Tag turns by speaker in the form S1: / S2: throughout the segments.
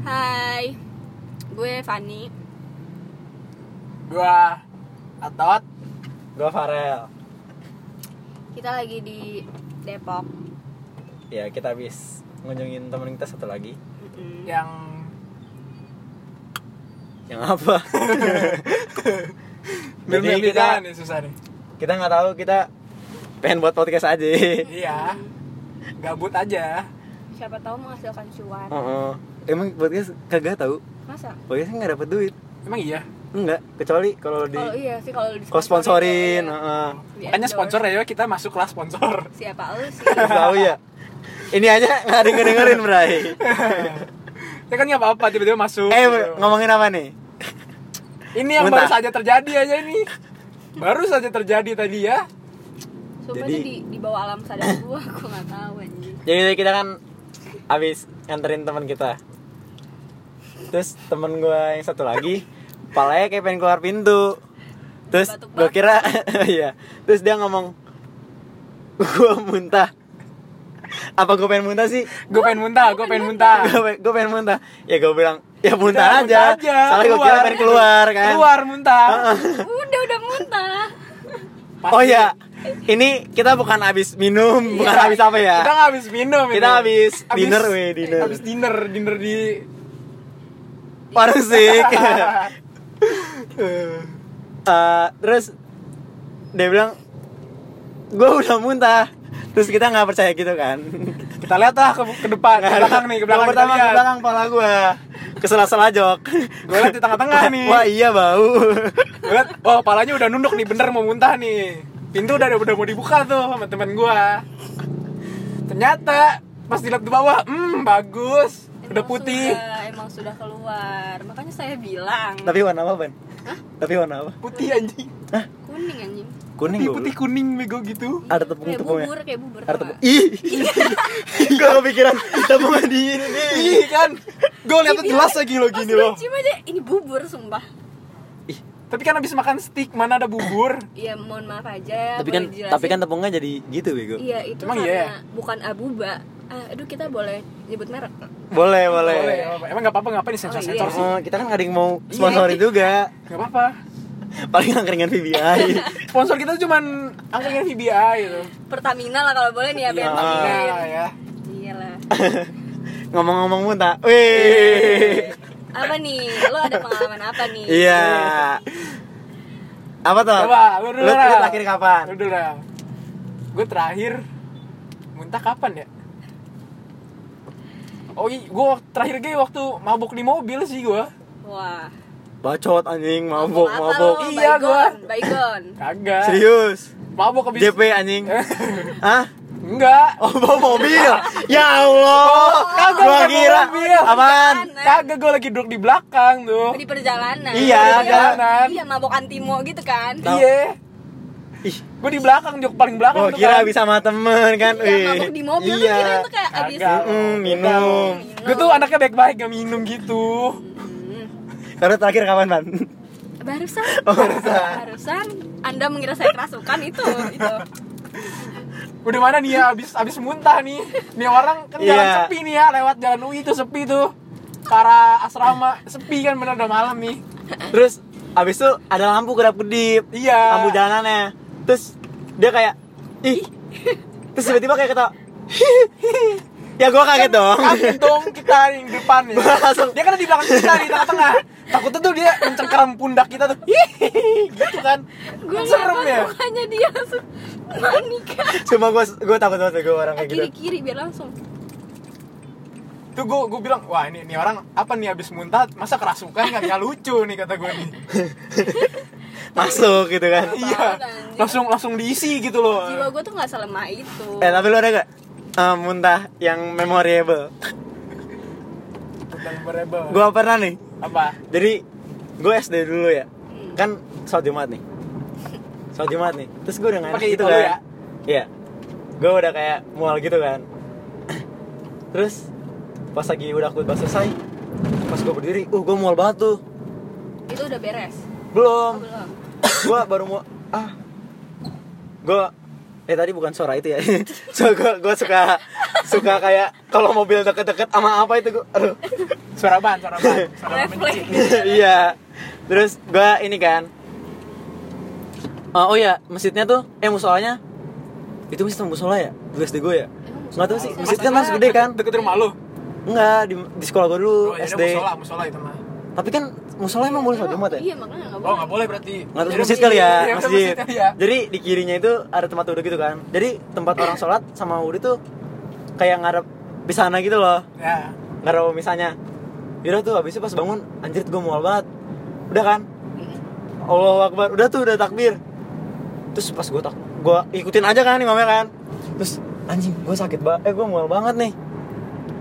S1: Hai, gue Fanny.
S2: Gua Atot Gua Farel
S1: Kita lagi di Depok.
S3: ya kita habis ngunjungin temen kita satu lagi
S1: Mm-mm.
S2: yang
S3: yang apa
S2: Jadi
S3: jadi
S2: kita
S3: kita
S2: nih susah nih
S3: kita nggak tahu kita pengen buat podcast aja
S2: iya gabut aja
S1: Siapa tahu menghasilkan cuan.
S3: Heeh. Oh, emang podcast kagak tahu
S1: Masa?
S3: podcast nggak dapet duit
S2: emang iya
S3: enggak kecuali kalau di
S1: Oh iya sih kalau di ya.
S3: kalau sponsorin ah. heeh.
S1: Iya,
S2: makanya sponsor ya yuk kita masuk kelas sponsor
S1: Siapa lu sih?
S3: tahu ya ini aja nggak denger dengerin Bray
S2: ya kan nggak apa-apa tiba-tiba masuk
S3: eh
S2: gitu.
S3: ngomongin apa nih
S2: ini yang
S3: muntah.
S2: baru saja terjadi aja ini baru saja terjadi tadi ya
S1: Sumpah
S3: Jadi-
S1: itu di, di bawah alam sadar gua, gua nggak tahu anjing.
S3: jadi kita kan habis nganterin teman kita terus temen gue yang satu lagi palanya kayak pengen keluar pintu terus
S1: Batuk
S3: gue
S1: banget.
S3: kira iya terus dia ngomong gue muntah apa gue pengen muntah sih
S2: gue pengen muntah gue pengen muntah
S3: gue pengen muntah ya gue bilang ya muntah
S2: Udah,
S3: aja,
S2: Ah. muntah aja,
S3: soalnya gue kira
S2: keluar.
S3: pengen keluar kan
S2: keluar muntah
S1: Udah udah muntah.
S2: Pasti. Iya.
S3: oh ya ini kita bukan habis minum bukan habis apa ya
S2: kita nggak habis minum
S3: Kita
S2: ini.
S3: habis dinner, weh, dinner.
S2: habis dinner dinner di
S3: Warung sik. Eh, terus dia bilang gue udah muntah. Terus kita nggak percaya gitu kan.
S2: kita lihat lah ke, ke depan ke belakang nih ke belakang
S3: Nah, Yang pertama
S2: kita
S3: ke
S2: lihat.
S3: belakang pala gue kesel-sel jok.
S2: Gua liat di tengah-tengah nih.
S3: Wah iya bau.
S2: Gua liat, wah oh, palanya udah nunduk nih bener mau muntah nih pintu udah udah mau dibuka tuh sama teman gua ternyata pas dilihat di bawah hmm bagus udah
S1: Emang
S2: putih
S1: sudah- emang sudah keluar. Makanya saya bilang
S3: Tapi warna apa ben? Tapi warna apa?
S2: putih anjing
S1: kuning anjing.
S3: Kuning
S2: putih
S3: gua
S2: putih kuning bego gitu
S3: Ada
S1: Kayak
S3: tepung-tepungnya.
S1: bubur, kayak bubur.
S3: Ada
S1: tau
S3: tepung.
S1: nggak?
S3: Ih. Gue kepikiran tepungnya di ini. nih.
S2: Ih kan gua lihat
S1: Iya.
S2: jelas lagi lo gini
S1: Pas
S2: loh
S1: gua cium aja, ini bubur sumpah.
S2: tapi kan habis makan steak mana ada bubur
S1: Iya, mohon maaf aja.
S3: Tapi kan
S1: boleh Iya, dijelasin.
S3: tapi kan tepungnya jadi gitu bego.
S1: Iya itu
S2: Emang
S1: karena
S2: iya
S1: bukan abuba. Ah, aduh kita boleh nyebut merek.
S3: Boleh,
S2: Boleh,
S3: boleh.
S2: nggak apa-apa. emang gak apa-apa ngapain sensor
S1: Oh,
S2: sensor sih
S3: Oh, kita kan gak ada yang mau
S1: Iya.
S3: sponsorin juga.
S2: nggak apa-apa
S3: Paling angkringan VBI.
S2: sponsor kita tuh cuman angkringan VBI gitu
S1: Pertamina lah kalau boleh nih ya biar
S3: Iya.
S1: pamerin.
S2: Nah, ya
S1: Iya lah.
S3: Ngomong-ngomong muntah. Wih.
S1: Apa nih? Lo ada pengalaman apa nih?
S3: Iya. Apa tuh?
S2: Coba, lu dulu
S3: Lu- lu
S2: Ral.
S3: terakhir kapan?
S2: Lu dulu Gue terakhir muntah kapan ya? Oh iya, gue terakhir gue waktu mabuk di mobil sih gue
S1: Wah.
S3: Bacot anjing, mabok,
S1: Apa
S3: mabok.
S1: lo?
S2: Iya, gua.
S1: Baygon, Baygon.
S2: Kagak
S3: Serius.
S2: Mabuk abis
S3: JP anjing. Hah?
S2: Enggak
S3: Oh, bawa mobil. ya
S2: Oh,
S3: Allah.
S2: kagak,
S3: Gua
S2: bukan bawa
S3: kira
S2: kan mobil.
S3: apaan?
S2: Kagak gue lagi duduk di belakang tuh
S1: Oh, Di perjalanan.
S3: Iya,
S1: Di
S2: perjalanan.
S1: Iya, mabok antimo gitu kan.
S2: Iya
S3: Ih,
S2: Gue di belakang, jok paling belakang
S3: gua
S2: tuh
S3: Oh, kira
S2: kan.
S3: habis sama temen kan.
S1: Iya, mabok
S3: Wih.
S1: di mobil tuh
S3: iya.
S1: kira itu kan? kayak abis
S2: Kagak.
S3: Mm, minum.
S2: Gue tuh anaknya baik-baik gak minum gitu
S1: Hmm.
S3: Terus terakhir kapan, Ban?
S1: Barusan,
S3: Oh, barusan.
S1: barusan Anda mengira saya kerasukan itu, gitu. itu.
S2: Udah mana nih ya, abis, abis muntah nih Nih orang kan jalan
S3: Iya.
S2: sepi nih ya, lewat jalan UI tuh sepi tuh Ke arah asrama, sepi kan bener udah malam nih
S3: Terus abis itu ada lampu kedap-kedip.
S2: Iya.
S3: Lampu jalanannya. Terus dia kayak ih. Terus tiba-tiba kayak kata Ya gua kaget dong.
S2: Kan Kaget dong kita yang depan ya
S3: Gua langsung-
S2: Dia kan ada di belakang kita di tengah-tengah Takutnya tuh dia mencengkeram pundak kita tuh Hihihi, Gitu kan
S1: Gue
S2: Serem
S1: ngeliat
S2: ya
S1: mukanya dia langsung Monica
S3: Cuma gua gua takut banget deh gua orang kayak gitu.
S1: kiri kiri biar langsung
S2: Tuh gue gue bilang, wah ini, ini orang apa nih abis muntah Masa kerasukan kan, ya lucu nih kata gue nih
S3: Masuk gitu kan.
S2: Iya,
S1: anjing.
S2: langsung langsung diisi gitu loh
S1: jiwa gue tuh nggak selemah itu
S3: Eh tapi lu ada gak? eh, muntah yang memorable.
S2: Tentang berebel
S3: Gua pernah nih.
S2: Apa?
S3: Jadi gue SD dulu ya.
S2: Hmm.
S3: Kan sholat Jumat nih. Sholat Jumat nih. Terus gue udah ngantuk
S2: Pakai
S3: gitu
S2: itu
S3: kan.
S2: ya?
S3: Iya. Gue udah kayak mual gitu kan. Terus pas lagi udah khutbah selesai, pas gue berdiri, uh gue mual banget tuh.
S1: itu udah beres Oh,
S3: Belum.
S1: belum
S3: gue baru mau ah gue eh tadi bukan suara itu ya so, gue suka suka kayak kalau mobil deket-deket sama apa itu gue aduh
S2: Suara apaan? Suara apaan? Suara
S1: Refleks.
S2: benci.
S3: iya terus gue ini kan oh oh iya masjidnya tuh eh musolanya itu masjid sama musola ya dulu SD gue ya nggak tahu sih masjid kan harus gede kan
S2: Deket rumah lu.
S3: nggak di, di sekolah gue dulu
S2: Oh, ya udah
S3: SD
S2: musola, musola itu mah.
S3: tapi kan musola emang boleh sholat jumat ya
S1: Iya, makanya nggak
S2: Oh,
S1: boleh.
S2: nggak boleh berarti.
S3: nggak tahu
S2: Jadi
S3: masjid kali ya
S2: Iya,
S3: masjid
S2: kali ya.
S3: jadi di kirinya itu ada tempat wudhu gitu kan jadi tempat orang sholat sama wudhu tuh kayak ngarep di sana gitu loh
S2: Ya.
S3: ngarep misalnya Yaudah tuh habis itu pas bangun anjir gue mual banget udah kan Allah Akbar udah tuh udah takbir terus pas gue tak gue ikutin aja kan imamnya kan terus anjing gue sakit banget eh gue mual banget nih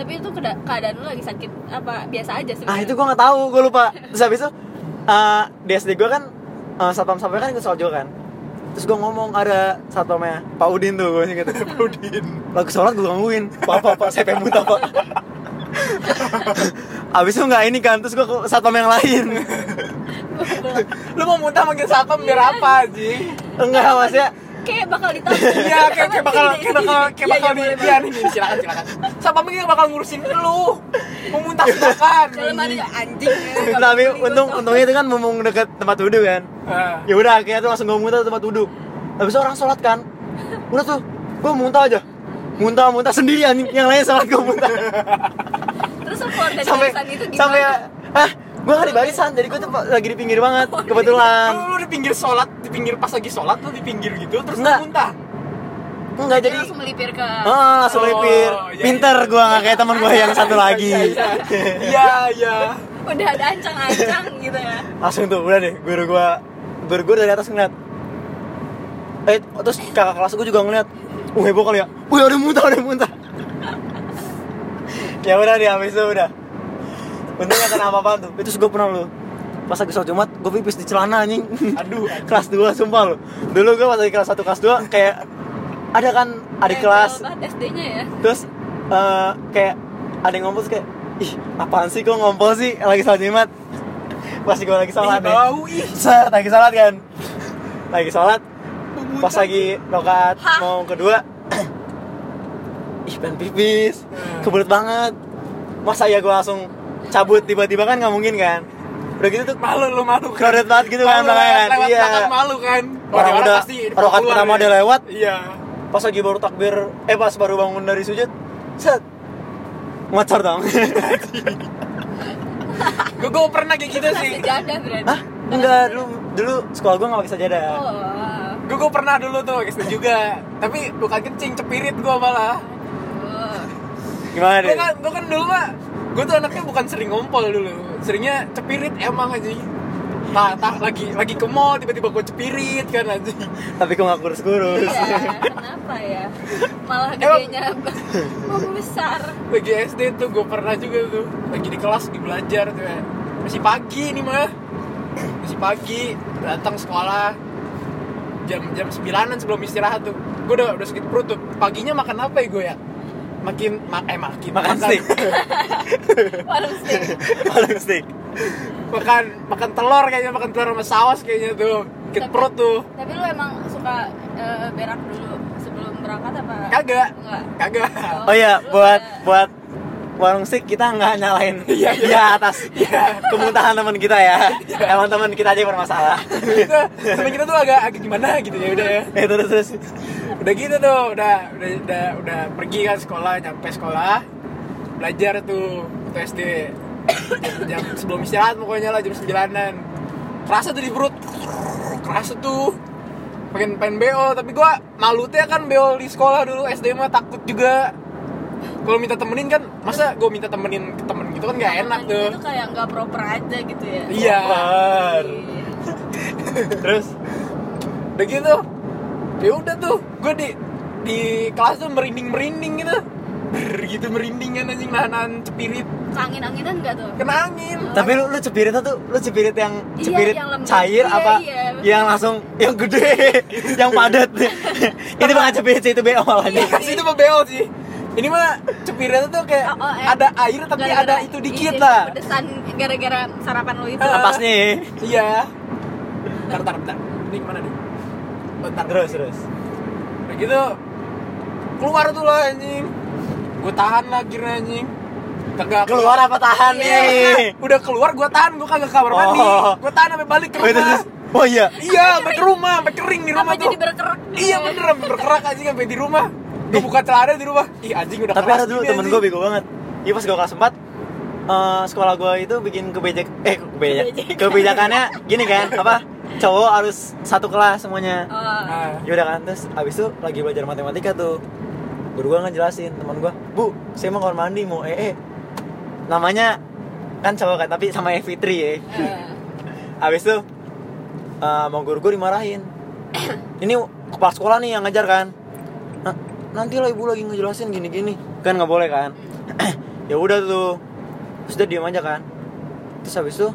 S1: Tapi itu keda- keadaan lu lagi sakit apa biasa aja sih?
S3: ah itu gue nggak tahu gue lupa terus habis itu eh, di SD gue kan eh, satpam satpamnya kan ikut sholat juga kan terus gue ngomong ada satpamnya Pak Udin tuh gue inget Pak Udin lagi sholat gue gangguin Pak Pak Pak saya pengen muntah Pak abis itu nggak ini kan terus gue ke satpam yang lain
S2: Lu mau muntah manggil satpam biar apa, Ji?
S3: enggak maksudnya
S1: kayak bakal ditangkap.
S2: Iya, kayak kayak bakal kayak bakal kayak
S1: Iya, iya,
S2: bakal di
S1: boleh,
S2: dia nih, nih, silakan silakan. Satpam ini bakal ngurusin lu. Mau muntah silakan.
S1: Dalam hati kayak, anjing. ya, nggak boleh
S3: tapi
S1: nih,
S3: untung
S1: gua tau.
S3: untungnya itu kan mumpung deket tempat wudhu kan
S2: Ah.
S3: ya udah akhirnya tuh langsung gue muntah di tempat duduk habis itu orang sholat kan udah tuh gue muntah aja muntah muntah sendiri anjing yang lain sholat gue muntah
S1: Terus lu keluar dari
S3: sampai
S1: barisan itu gimana?
S3: sampai ah gue nggak di barisan jadi gue tuh lagi di pinggir banget
S2: Oh,
S3: kebetulan
S2: Lu, lu di pinggir sholat, di pinggir pas lagi sholat lu di pinggir gitu terus lu
S3: Enggak.
S2: muntah.
S3: enggak
S1: Dia
S3: jadi
S1: langsung melipir ke
S3: oh langsung
S2: gitu. Oh,
S3: lipir
S2: iya, iya.
S3: pinter gue nggak kayak teman gue yang satu lagi
S2: Iya, iya.
S1: udah ada ancang-ancang gitu ya.
S3: langsung tuh udah deh guru gue guru gue dari atas ngeliat eh terus kakak kelas gue juga ngeliat uh heboh kali ya uh udah muntah udah muntah ya udah deh habis itu udah untungnya kena apa apa tuh itu gue pernah lu pas lagi sholat jumat gue pipis di celana anjing
S2: Aduh.
S3: kelas 2 sumpah lu dulu gue pas lagi kelas 1 kelas 2 kayak ada kan adik kelas
S1: SD-nya ya.
S3: terus eh, kayak ada yang ngompol terus kayak ih apaan sih kok ngompol sih lagi sholat jumat pasti gue lagi sholat
S2: Ih, bau ih.
S3: Set, lagi sholat kan lagi sholat
S2: Mau muntah.
S3: pas lagi rokat
S1: Hah?
S3: mau kedua ih pengen pipis
S2: Hmm.
S3: kebelet banget masa ya gue langsung cabut tiba-tiba kan nggak mungkin kan udah gitu tuh
S2: malu lu malu kan.
S3: Crowded banget gitu kan,
S2: Malu,
S3: belakangnya kan.
S2: Lewat
S3: Iya.
S2: belakang malu kan.
S3: Orang udah- rokat
S2: keluar
S3: pertama
S2: ya.
S3: udah lewat.
S2: Iya.
S3: pas lagi baru takbir eh pas baru bangun dari sujud set ngocor dong
S2: Gue gue pernah kayak gitu sih.
S1: Sejadah berarti.
S3: Hah? Enggak, dulu dulu sekolah gua nggak pakai sajadah.
S1: Oh.
S2: Gue gue pernah dulu tuh SD juga. Tapi bukan kencing, cepirit gue malah.
S1: Oh.
S3: Gimana
S2: Gue
S3: deh?
S2: kan gue kan dulu mah gue tuh anaknya bukan sering ngompol dulu. Seringnya cepirit emang aja. Nah, tah, lagi lagi ke mall tiba-tiba gue cepirit kan aja.
S3: Tapi gua nggak kurus-kurus.
S1: Iya, kenapa ya? Malah
S2: Emang-
S1: gedenya membesar.
S2: Lagi SD tuh gue pernah juga tuh lagi di kelas lagi belajar tuh ya. Masih pagi nih mah. Masih pagi datang sekolah jam jam sembilanan sebelum istirahat tuh. Gue udah udah sakit perut tuh. Paginya makan apa ya gue ya? Makin mak eh makin
S3: Makan steak.
S1: Warung steak.
S3: Makan steak.
S2: makan makan telur kayaknya makan telur sama saus kayaknya tuh sakit
S1: Tapi-
S2: perut tuh
S1: Tapi lu emang suka eh, berak dulu sebelum berangkat apa?
S2: kagak
S1: Enggak.
S2: kagak
S3: Oh iya, buat buat warung steak kita nggak nyalain
S2: Iya, iya.
S3: ya atas kemuntahan teman kita ya. Emang teman kita aja yang bermasalah.
S2: gitu temen kita tuh agak agak gimana gitu ya udah ya
S3: Eh terus terus.
S2: udah gitu tuh udah udah udah, udah pergi kan sekolah nyampe sekolah belajar tuh waktu SD jam, jam sebelum istirahat pokoknya lah jam sembilanan kerasa tuh di perut kerasa tuh pengen pengen beo tapi gua malutnya kan beo di sekolah dulu SD mah takut juga kalau minta temenin kan masa gue minta temenin ke temen gitu kan gak enak
S1: Makan
S2: tuh
S1: Itu kayak nggak proper aja gitu ya.
S2: Iya.
S3: Lapar.
S1: Iya.
S3: Terus
S2: udah gitu ya udah tuh gue di di kelas tuh merinding merinding gitu Brrr, gitu merindingan anjing nahan nahan cepirit
S1: Angin-anginan enggak tuh?
S2: kena angin
S3: tapi lu lu cepirit tuh lu cepirit yang
S1: Iya,
S3: cepirit
S1: yang lembut.
S3: cair
S1: Iya,
S3: apa
S1: iya.
S3: yang langsung yang gede yang padat itu bukan cepirit sih itu BO
S2: Ini
S3: malahnya
S2: Iya, kasih itu bebel sih ini mah cepiritnya tuh kayak
S1: Oh, oh, eh.
S2: ada air tapi ada
S1: Gara-gara-
S2: itu dikit
S1: iya,
S2: lah
S1: Pedesan gara-gara sarapan lu itu.
S2: Ah.
S3: Apas nih
S2: iya bentar bentar bentar ini gimana nih bentar
S3: terus terus
S2: udah gitu keluar tuh lah anjing gue tahan lah akhirnya anjing tegak
S3: keluar apa tahan
S2: Iya,
S3: nih
S2: udah keluar gue tahan gue kagak ke kamar mandi
S3: Oh.
S2: gue tahan sampai balik ke
S3: Wait,
S2: rumah
S3: terus- oh iya
S2: iya sampai ke rumah sampai kering di rumah
S1: Kenapa
S2: tuh
S1: jadi berkerak? gitu ya?
S2: iya bener sampai berkerak anjing sampai di rumah gue buka celana di rumah ih anjing Iya, udah
S3: tapi
S2: keras
S3: ada dulu
S2: gini,
S3: temen
S2: anjing.
S3: gue bego banget iya pas gue kelas 4 eh, sekolah gue itu bikin kebejek eh kebejek
S1: Kebijakan.
S3: kebijakannya gini kan apa cowok harus satu kelas semuanya
S1: Oh.
S2: Nah,
S3: Yaudah kan, terus abis itu lagi belajar matematika tuh Guru gue ngejelasin, teman gue Bu, saya mau kamar mandi, mau ee Namanya kan cowok kan, tapi sama Evi Fitri ya
S1: Eh,
S3: Abis itu, eh, mau guru gue dimarahin Ini kepala sekolah nih yang ngajar kan "Nah, Nanti lah ibu lagi ngejelasin gini-gini Kan nggak boleh kan ya udah tuh Terus dia diem aja kan Terus habis itu,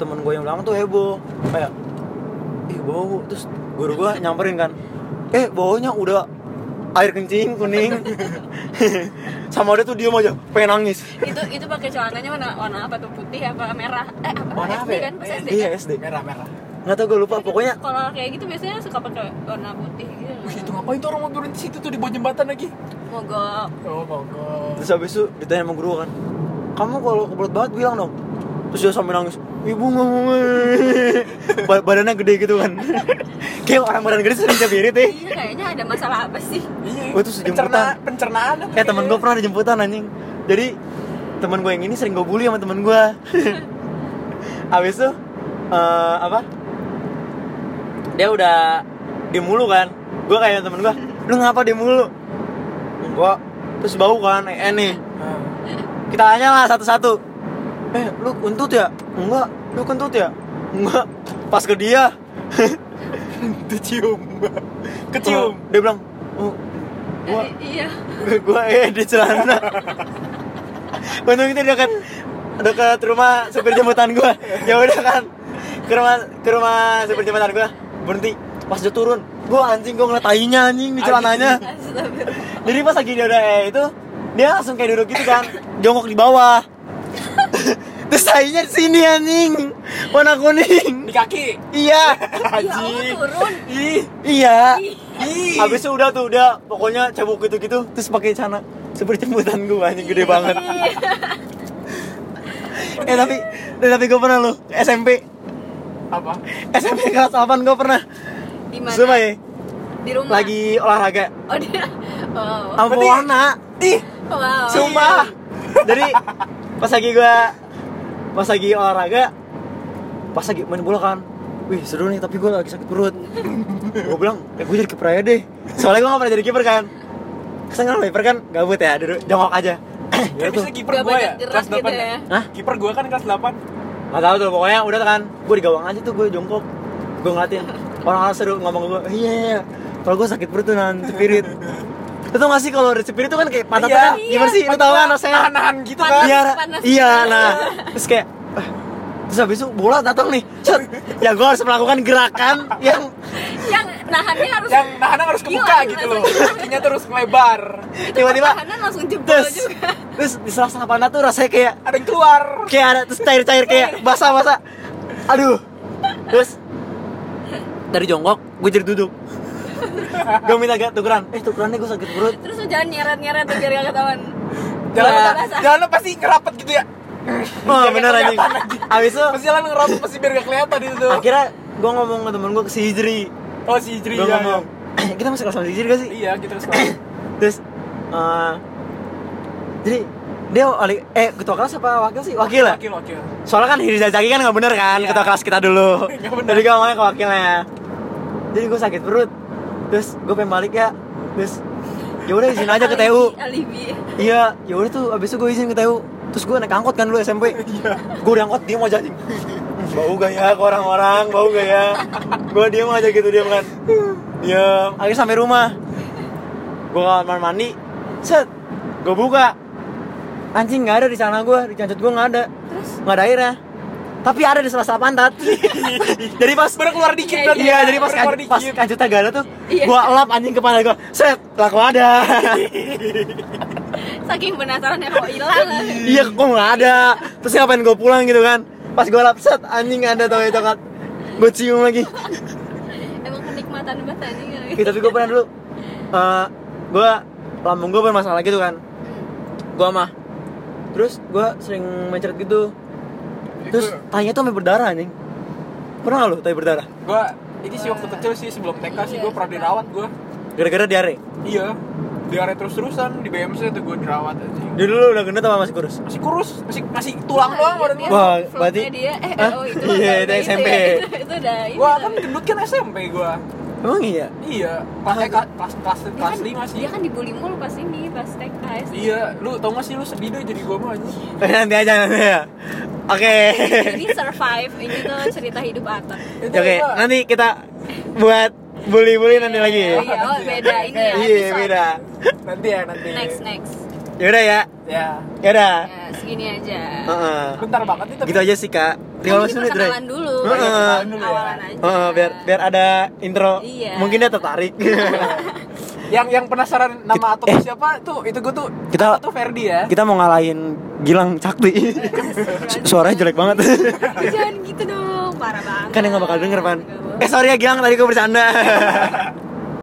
S3: temen gue yang belakang tuh heboh Kayak, ih Eh, bau terus guru gua nyamperin kan eh baunya udah air kencing kuning sama dia tuh diem aja pengen nangis
S1: itu itu pakai celananya warna warna apa tuh putih apa merah eh apa
S3: warna
S1: SD
S3: apa ya?
S1: kan pas SD
S3: iya
S1: kan?
S3: SD
S2: merah merah
S3: nggak tau gue lupa pokoknya
S1: sekolah kayak gitu biasanya suka pakai warna putih gitu
S2: Wih, itu ngapain tuh orang mau turun di situ tuh di bawah jembatan lagi
S1: mogok
S2: oh mogok
S3: terus habis itu ditanya sama guru kan kamu kalau kebelet banget bilang dong terus dia sambil nangis ibu ngomong Ba- badannya gede gitu kan kayak orang badan gede sering cebirit eh
S1: iya kayaknya ada masalah apa sih
S2: iya
S3: Gua tuh sejemputan.
S2: Pencerna- pencernaan apa
S3: eh temen
S2: ya?
S3: gue pernah ada jemputan anjing jadi temen gue yang ini sering gue bully sama temen gue abis itu eh, apa dia udah diem mulu kan gue kayak temen gue lu ngapa diem mulu gue terus bau kan eh, eh, nih
S2: Nah,
S3: kita tanya lah satu-satu eh lu kentut ya enggak lu kentut ya enggak pas ke dia
S2: dicium kecium
S3: dia bilang oh, gua
S1: Eh, iya
S3: gue eh di celana untung itu dekat dekat rumah supir jemputan gue ya udah kan ke rumah ke rumah supir jemputan gue berhenti pas dia turun gue anjing gue ngeliat tainya anjing di celananya
S1: Astagfirullah.
S3: jadi pas lagi dia udah eh itu dia langsung kayak duduk gitu kan jongkok di bawah terus tainya di sini anjing warna kuning
S2: di kaki
S3: iya
S1: ya Allah
S2: anjing
S1: turun
S2: ih
S3: iya
S2: ih
S3: Habis itu udah tuh udah pokoknya cebok gitu-gitu terus pakai celana seperti jemputan gue anjing gede banget.
S1: Iya.
S3: eh tapi eh, tapi gue pernah loh SMP
S2: apa
S3: SMP kelas 8 gue pernah
S1: di mana
S3: Sumpah ya
S1: di rumah
S3: lagi olahraga
S1: oh dia oh
S3: sama warna
S2: ih
S1: wow
S3: sumpah jadi pas lagi gue pas lagi olahraga pas lagi main bola kan wih seru nih tapi gue lagi sakit perut gue bilang ya gue jadi kiper aja deh soalnya gue gak pernah jadi kiper kan kesannya kiper kan gabut ya duduk jongkok aja ya
S2: Kayak
S3: tuh
S2: bisa kiper
S1: Gak
S2: gua ya
S1: banyak gerak
S2: kelas
S1: gitu
S2: 8
S1: ya.
S3: Hah?
S2: Kiper gua kan kelas 8
S3: Gak tau tuh, pokoknya udah tuh kan Gue di gawang aja tuh, gue jongkok Gue ngeliatin Orang-orang seru ngomong gue Iya, iya, iya Kalau gue sakit perut tuh nahan spirit Lu tau gak sih kalau dari spirit tuh kan kayak patah tuh
S2: Iya.
S3: kan Gimana sih, lu tau kan rasanya
S2: Nahan-nahan gitu kan
S3: Iya,
S1: panas.
S3: iya, nah Terus kayak ah. Terus habis itu bola datang nih Cet. Ya gue harus melakukan gerakan yang
S1: yang nahannya harus
S2: Yang nahan harus kebuka
S1: Iya,
S2: gitu
S1: langsung
S2: loh Kakinya terus melebar
S3: tiba-tiba
S1: nahannya langsung jebol
S3: Terus,
S1: juga
S3: terus di salah panah tuh rasanya kayak
S2: Ada yang keluar
S3: kayak ada terus cair-cair kayak basah-basah. Aduh. Terus dari jongkok gue jadi duduk. gue minta gak tukeran. Eh tukerannya gue sakit perut.
S2: Iya,
S1: terus lu jangan nyeret nyeret tuh biar gak ketahuan
S2: Jalan
S3: Iya.
S2: Jalan lo pasti ngerapet gitu ya
S3: Oh bener anjing. Abis itu
S2: Pasti jalan ngerapet pasti biar gak kelihatan itu
S3: akhirnya gue ngomong ke temen gue ke si Hijri.
S2: Oh si Ijri
S3: Gue
S2: iya,
S3: ngomong. "Eh, kita masih kelas sama si Hijri gak sih?
S2: Iya kita sekolah
S3: Terus eh, jadi dia wali- eh ketua kelas apa wakil sih? Wakil lah.
S2: Wakil-wakil
S3: Soalnya kan Hiri Zaki kan nggak bener kan
S2: Iya.
S3: ketua kelas kita dulu.
S2: Nggak bener.
S3: Jadi gue ngomongnya ke wakilnya. Jadi gue sakit perut. Terus gue pengen balik ya. Terus ya udah izin aja ke
S1: Alibi,
S3: TU.
S1: alibi
S3: Iya, ya udah tuh abis itu gue izin ke TU. Terus gue naik angkot kan dulu SMP.
S2: Iya.
S3: Gue udah angkot dia mau jadi. Bau gak ya ke orang-orang, bau gak ya? Gue diem aja gitu diem kan. Diem. Akhirnya sampai rumah. Gue kamar mandi. Set. Gue buka. Anjing nggak ada di sana gue, di cancut gue nggak ada. Terus? Nggak ada airnya. Tapi ada di sela-sela pantat. jadi pas
S2: Baru keluar dikit
S1: Iya,
S2: berarti
S3: Iya, jadi pas
S2: Baru keluar
S3: kan, pas
S2: dikit
S3: kancutnya gak ada tuh,
S1: Iya.
S3: gua elap anjing kepala gua, set, laku ada.
S1: saking penasaran ya kok hilang
S3: iya, kok nggak ada. Terus ngapain gua pulang gitu kan? Pas gua elap, set, anjing ada tau itu kan. Gua cium lagi.
S1: emang kenikmatan banget anjing
S3: Ih, tapi gua pernah dulu eh gue lambung gue bermasalah gitu kan gue mah terus gue sering mencret gitu terus tanya tuh sampai berdarah anjing pernah nggak lo tanya berdarah
S2: gue ini sih waktu kecil sih sebelum TK sih gue pernah dirawat gue
S3: gara-gara diare
S2: iya diare terus terusan di BMC tuh gue dirawat aja
S3: dia dulu udah gendut apa masih kurus
S2: masih kurus masih masih
S1: Nah,
S2: tulang doang
S1: iya,
S2: badan gue
S3: Wah,
S1: Vlognya
S3: berarti-
S1: dia eh
S3: Hah?
S1: oh itu
S3: Iya,
S1: udah
S3: itu
S1: ya.
S3: SMP.
S1: Itu- itu udah ini
S2: gue
S1: udah.
S2: kan gendut kan SMP gue
S3: emang iya
S2: iya kelas TK kelas kelas
S1: Dia
S2: kelas
S1: kan-
S2: lima sih
S1: dia kan dibully mulu pas ini pas TK SD.
S2: iya lu tau gak sih lu sedih deh jadi gue mah aja
S3: Eh, nanti aja nanti ya oke
S1: ini survive ini tuh cerita hidup Atta
S2: Itu
S3: oke
S2: Iya, gua-
S3: nanti kita buat bully-bully nanti lagi
S1: Iya, iya, oh, beda ini ya
S3: iya
S1: episode.
S3: beda
S2: nanti ya nanti
S1: next next
S3: yaudah ya
S2: ya
S3: yaudah
S1: ya segini aja
S3: Heeh.
S2: bentar banget nih tapi
S3: gitu aja sih kak
S1: Kan ini
S3: 15 menit Dre
S1: perkenalan dulu
S3: Heeh.
S1: perkenalan dulu ya. awalan
S2: Heeh,
S1: aja
S3: Heeh, biar biar ada intro
S1: Iya.
S3: mungkin dia tertarik
S2: yang yang penasaran
S3: Gitu.
S2: nama atau
S3: Eh.
S2: siapa tuh itu gue tuh
S3: Kita-
S2: tuh Ferdi ya
S3: kita mau ngalahin Gilang Cakti suaranya jelek banget
S1: jangan gitu dong parah banget
S3: kan yang gak bakal denger pan
S1: Nggak bakal.
S3: eh sorry ya Gilang tadi gue bercanda